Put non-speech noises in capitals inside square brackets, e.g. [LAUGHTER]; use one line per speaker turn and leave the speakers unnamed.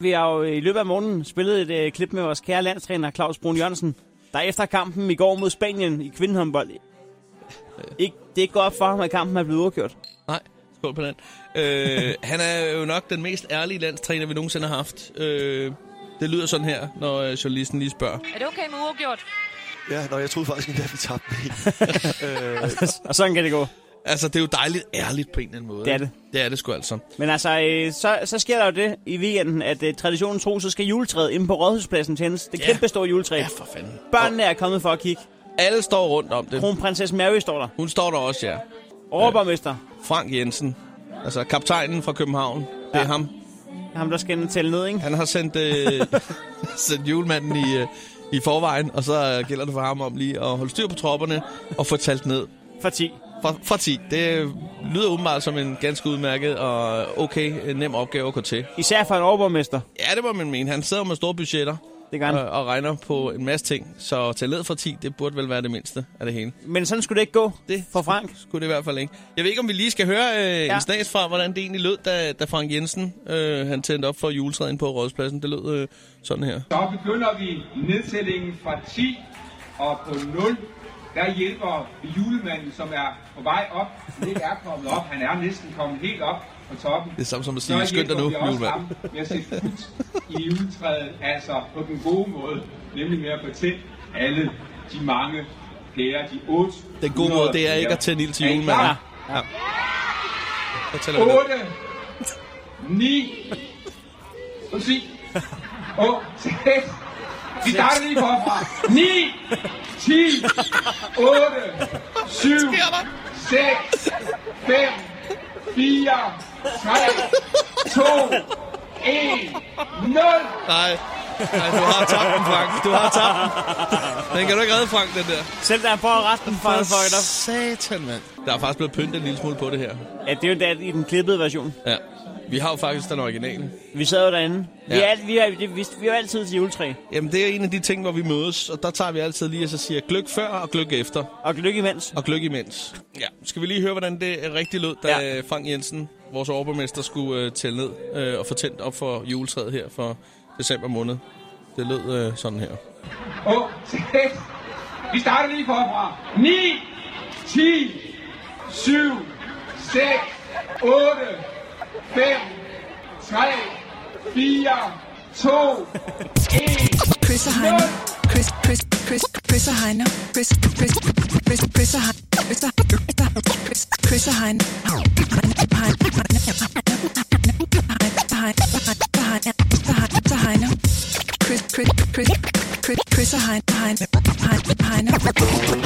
vi har jo øh, i løbet af morgenen spillet et øh, klip med vores kære landstræner Claus Brun Jørgensen, der efter kampen i går mod Spanien i kvindehåndbold, øh, ikke, det er ikke godt for ham, at kampen er blevet
[LAUGHS]
udkørt.
Nej, skål på den. Øh, han er jo nok den mest ærlige landstræner, vi nogensinde har haft. Øh, det lyder sådan her, når øh, journalisten lige spørger.
Er det okay med uafgjort?
Ja, nå, jeg troede faktisk ikke, at vi tabte den helt. øh,
Og sådan kan det gå.
Altså, det er jo dejligt ærligt på en eller anden måde.
Det er det.
Det er det sgu altså.
Men altså, øh, så, så sker der jo det i weekenden, at øh, traditionen tro, så skal juletræet inde på rådhuspladsen tændes. Det
Ja.
kæmpe store juletræ.
Ja, for fanden.
Børnene er kommet for at kigge.
Alle står rundt om det.
Kronprinsesse Mary står der.
Hun står der også, ja.
Overborgmester.
Frank Jensen. Altså, kaptajnen fra København. Det er
Ja.
ham.
Ham, der skal tælle ned, ikke?
Han har sendt, øh, [LAUGHS] sendt julemanden i, øh, i forvejen, og så øh, gælder det for ham om lige at holde styr på tropperne og få talt ned
For 10.
fra, fra 10. Det øh, lyder åbenbart som en ganske udmærket og okay øh, nem opgave at gå til.
Især for en overborgmester.
Ja, det må man mene. Han sidder med store budgetter
Det gør han.
øh, og regner på en masse ting, så at tage ned fra 10, det burde vel være det mindste af det hele.
Men sådan skulle det ikke gå
Det
for Frank.
skulle det i hvert fald ikke. Jeg ved ikke, om vi lige skal høre øh, ja. en snas fra, hvordan det egentlig lød, da, da Frank Jensen øh, han tændte op for juletræet inde på Rådspladsen. Det lød øh, sådan her.
Så begynder vi nedtællingen fra 10 og på 0. Der hjælper julemanden, som er på vej op. Det er kommet op. Han er næsten kommet helt op på toppen.
Det er samme som at sige, skynd dig nu,
vi også
julemand.
ham med at sætte fut i juletræet, altså på den gode måde. Nemlig med at fortælle alle de mange pærer, de 8.
Den gode måde, det er ikke at tænde ild til julemanden.
Ja.
Så tæller vi ned.
8, 9, 10, og 6. Vi starter lige forfra. 9, 10, 8, 7, 6, 5, 4, 3, 2, 1,
Nej.
0.
Nej, du har tabt den, Frank. Du har tabt den. Den kan du ikke redde, Frank, den der.
Selv da han får resten for at fuck op.
satan, mand. Der er faktisk blevet pyntet en lille smule på det her.
Ja, det er jo da i den klippede version.
Ja. Vi har jo faktisk den originale.
Vi sad jo derinde. Vi,
Ja.
er, alt- vi, er, det, vi, vi er jo altid til juletræ.
Jamen, det er en af de ting, hvor vi mødes, og der tager vi altid lige og så siger gløk før og gløk efter.
Og lykke imens.
Og gløk imens. Ja. Skal vi lige høre, hvordan det øh, rigtig lød, da
Ja.
ja. Frank Jensen, vores overborgmester, skulle øh, tælle ned øh, og få tændt op for juletræet her for december måned. Det lød øh, sådan her.
og 6. Vi starter lige forfra. 9, 10, 7, 6, 8, 5, 3, 4, 2, 1.
Chris og Heino. Chris, Chris, Chris, Chris og Heino. Chris, Chris, Chris, Chris og Heino. Chris, og- Chris, Chris og Heino. Heino, Heino, Heino, Heino, Heino, Heino. Chris, Chris, Chris, Chris, Chris og Heino. Heino, Heino, Heino.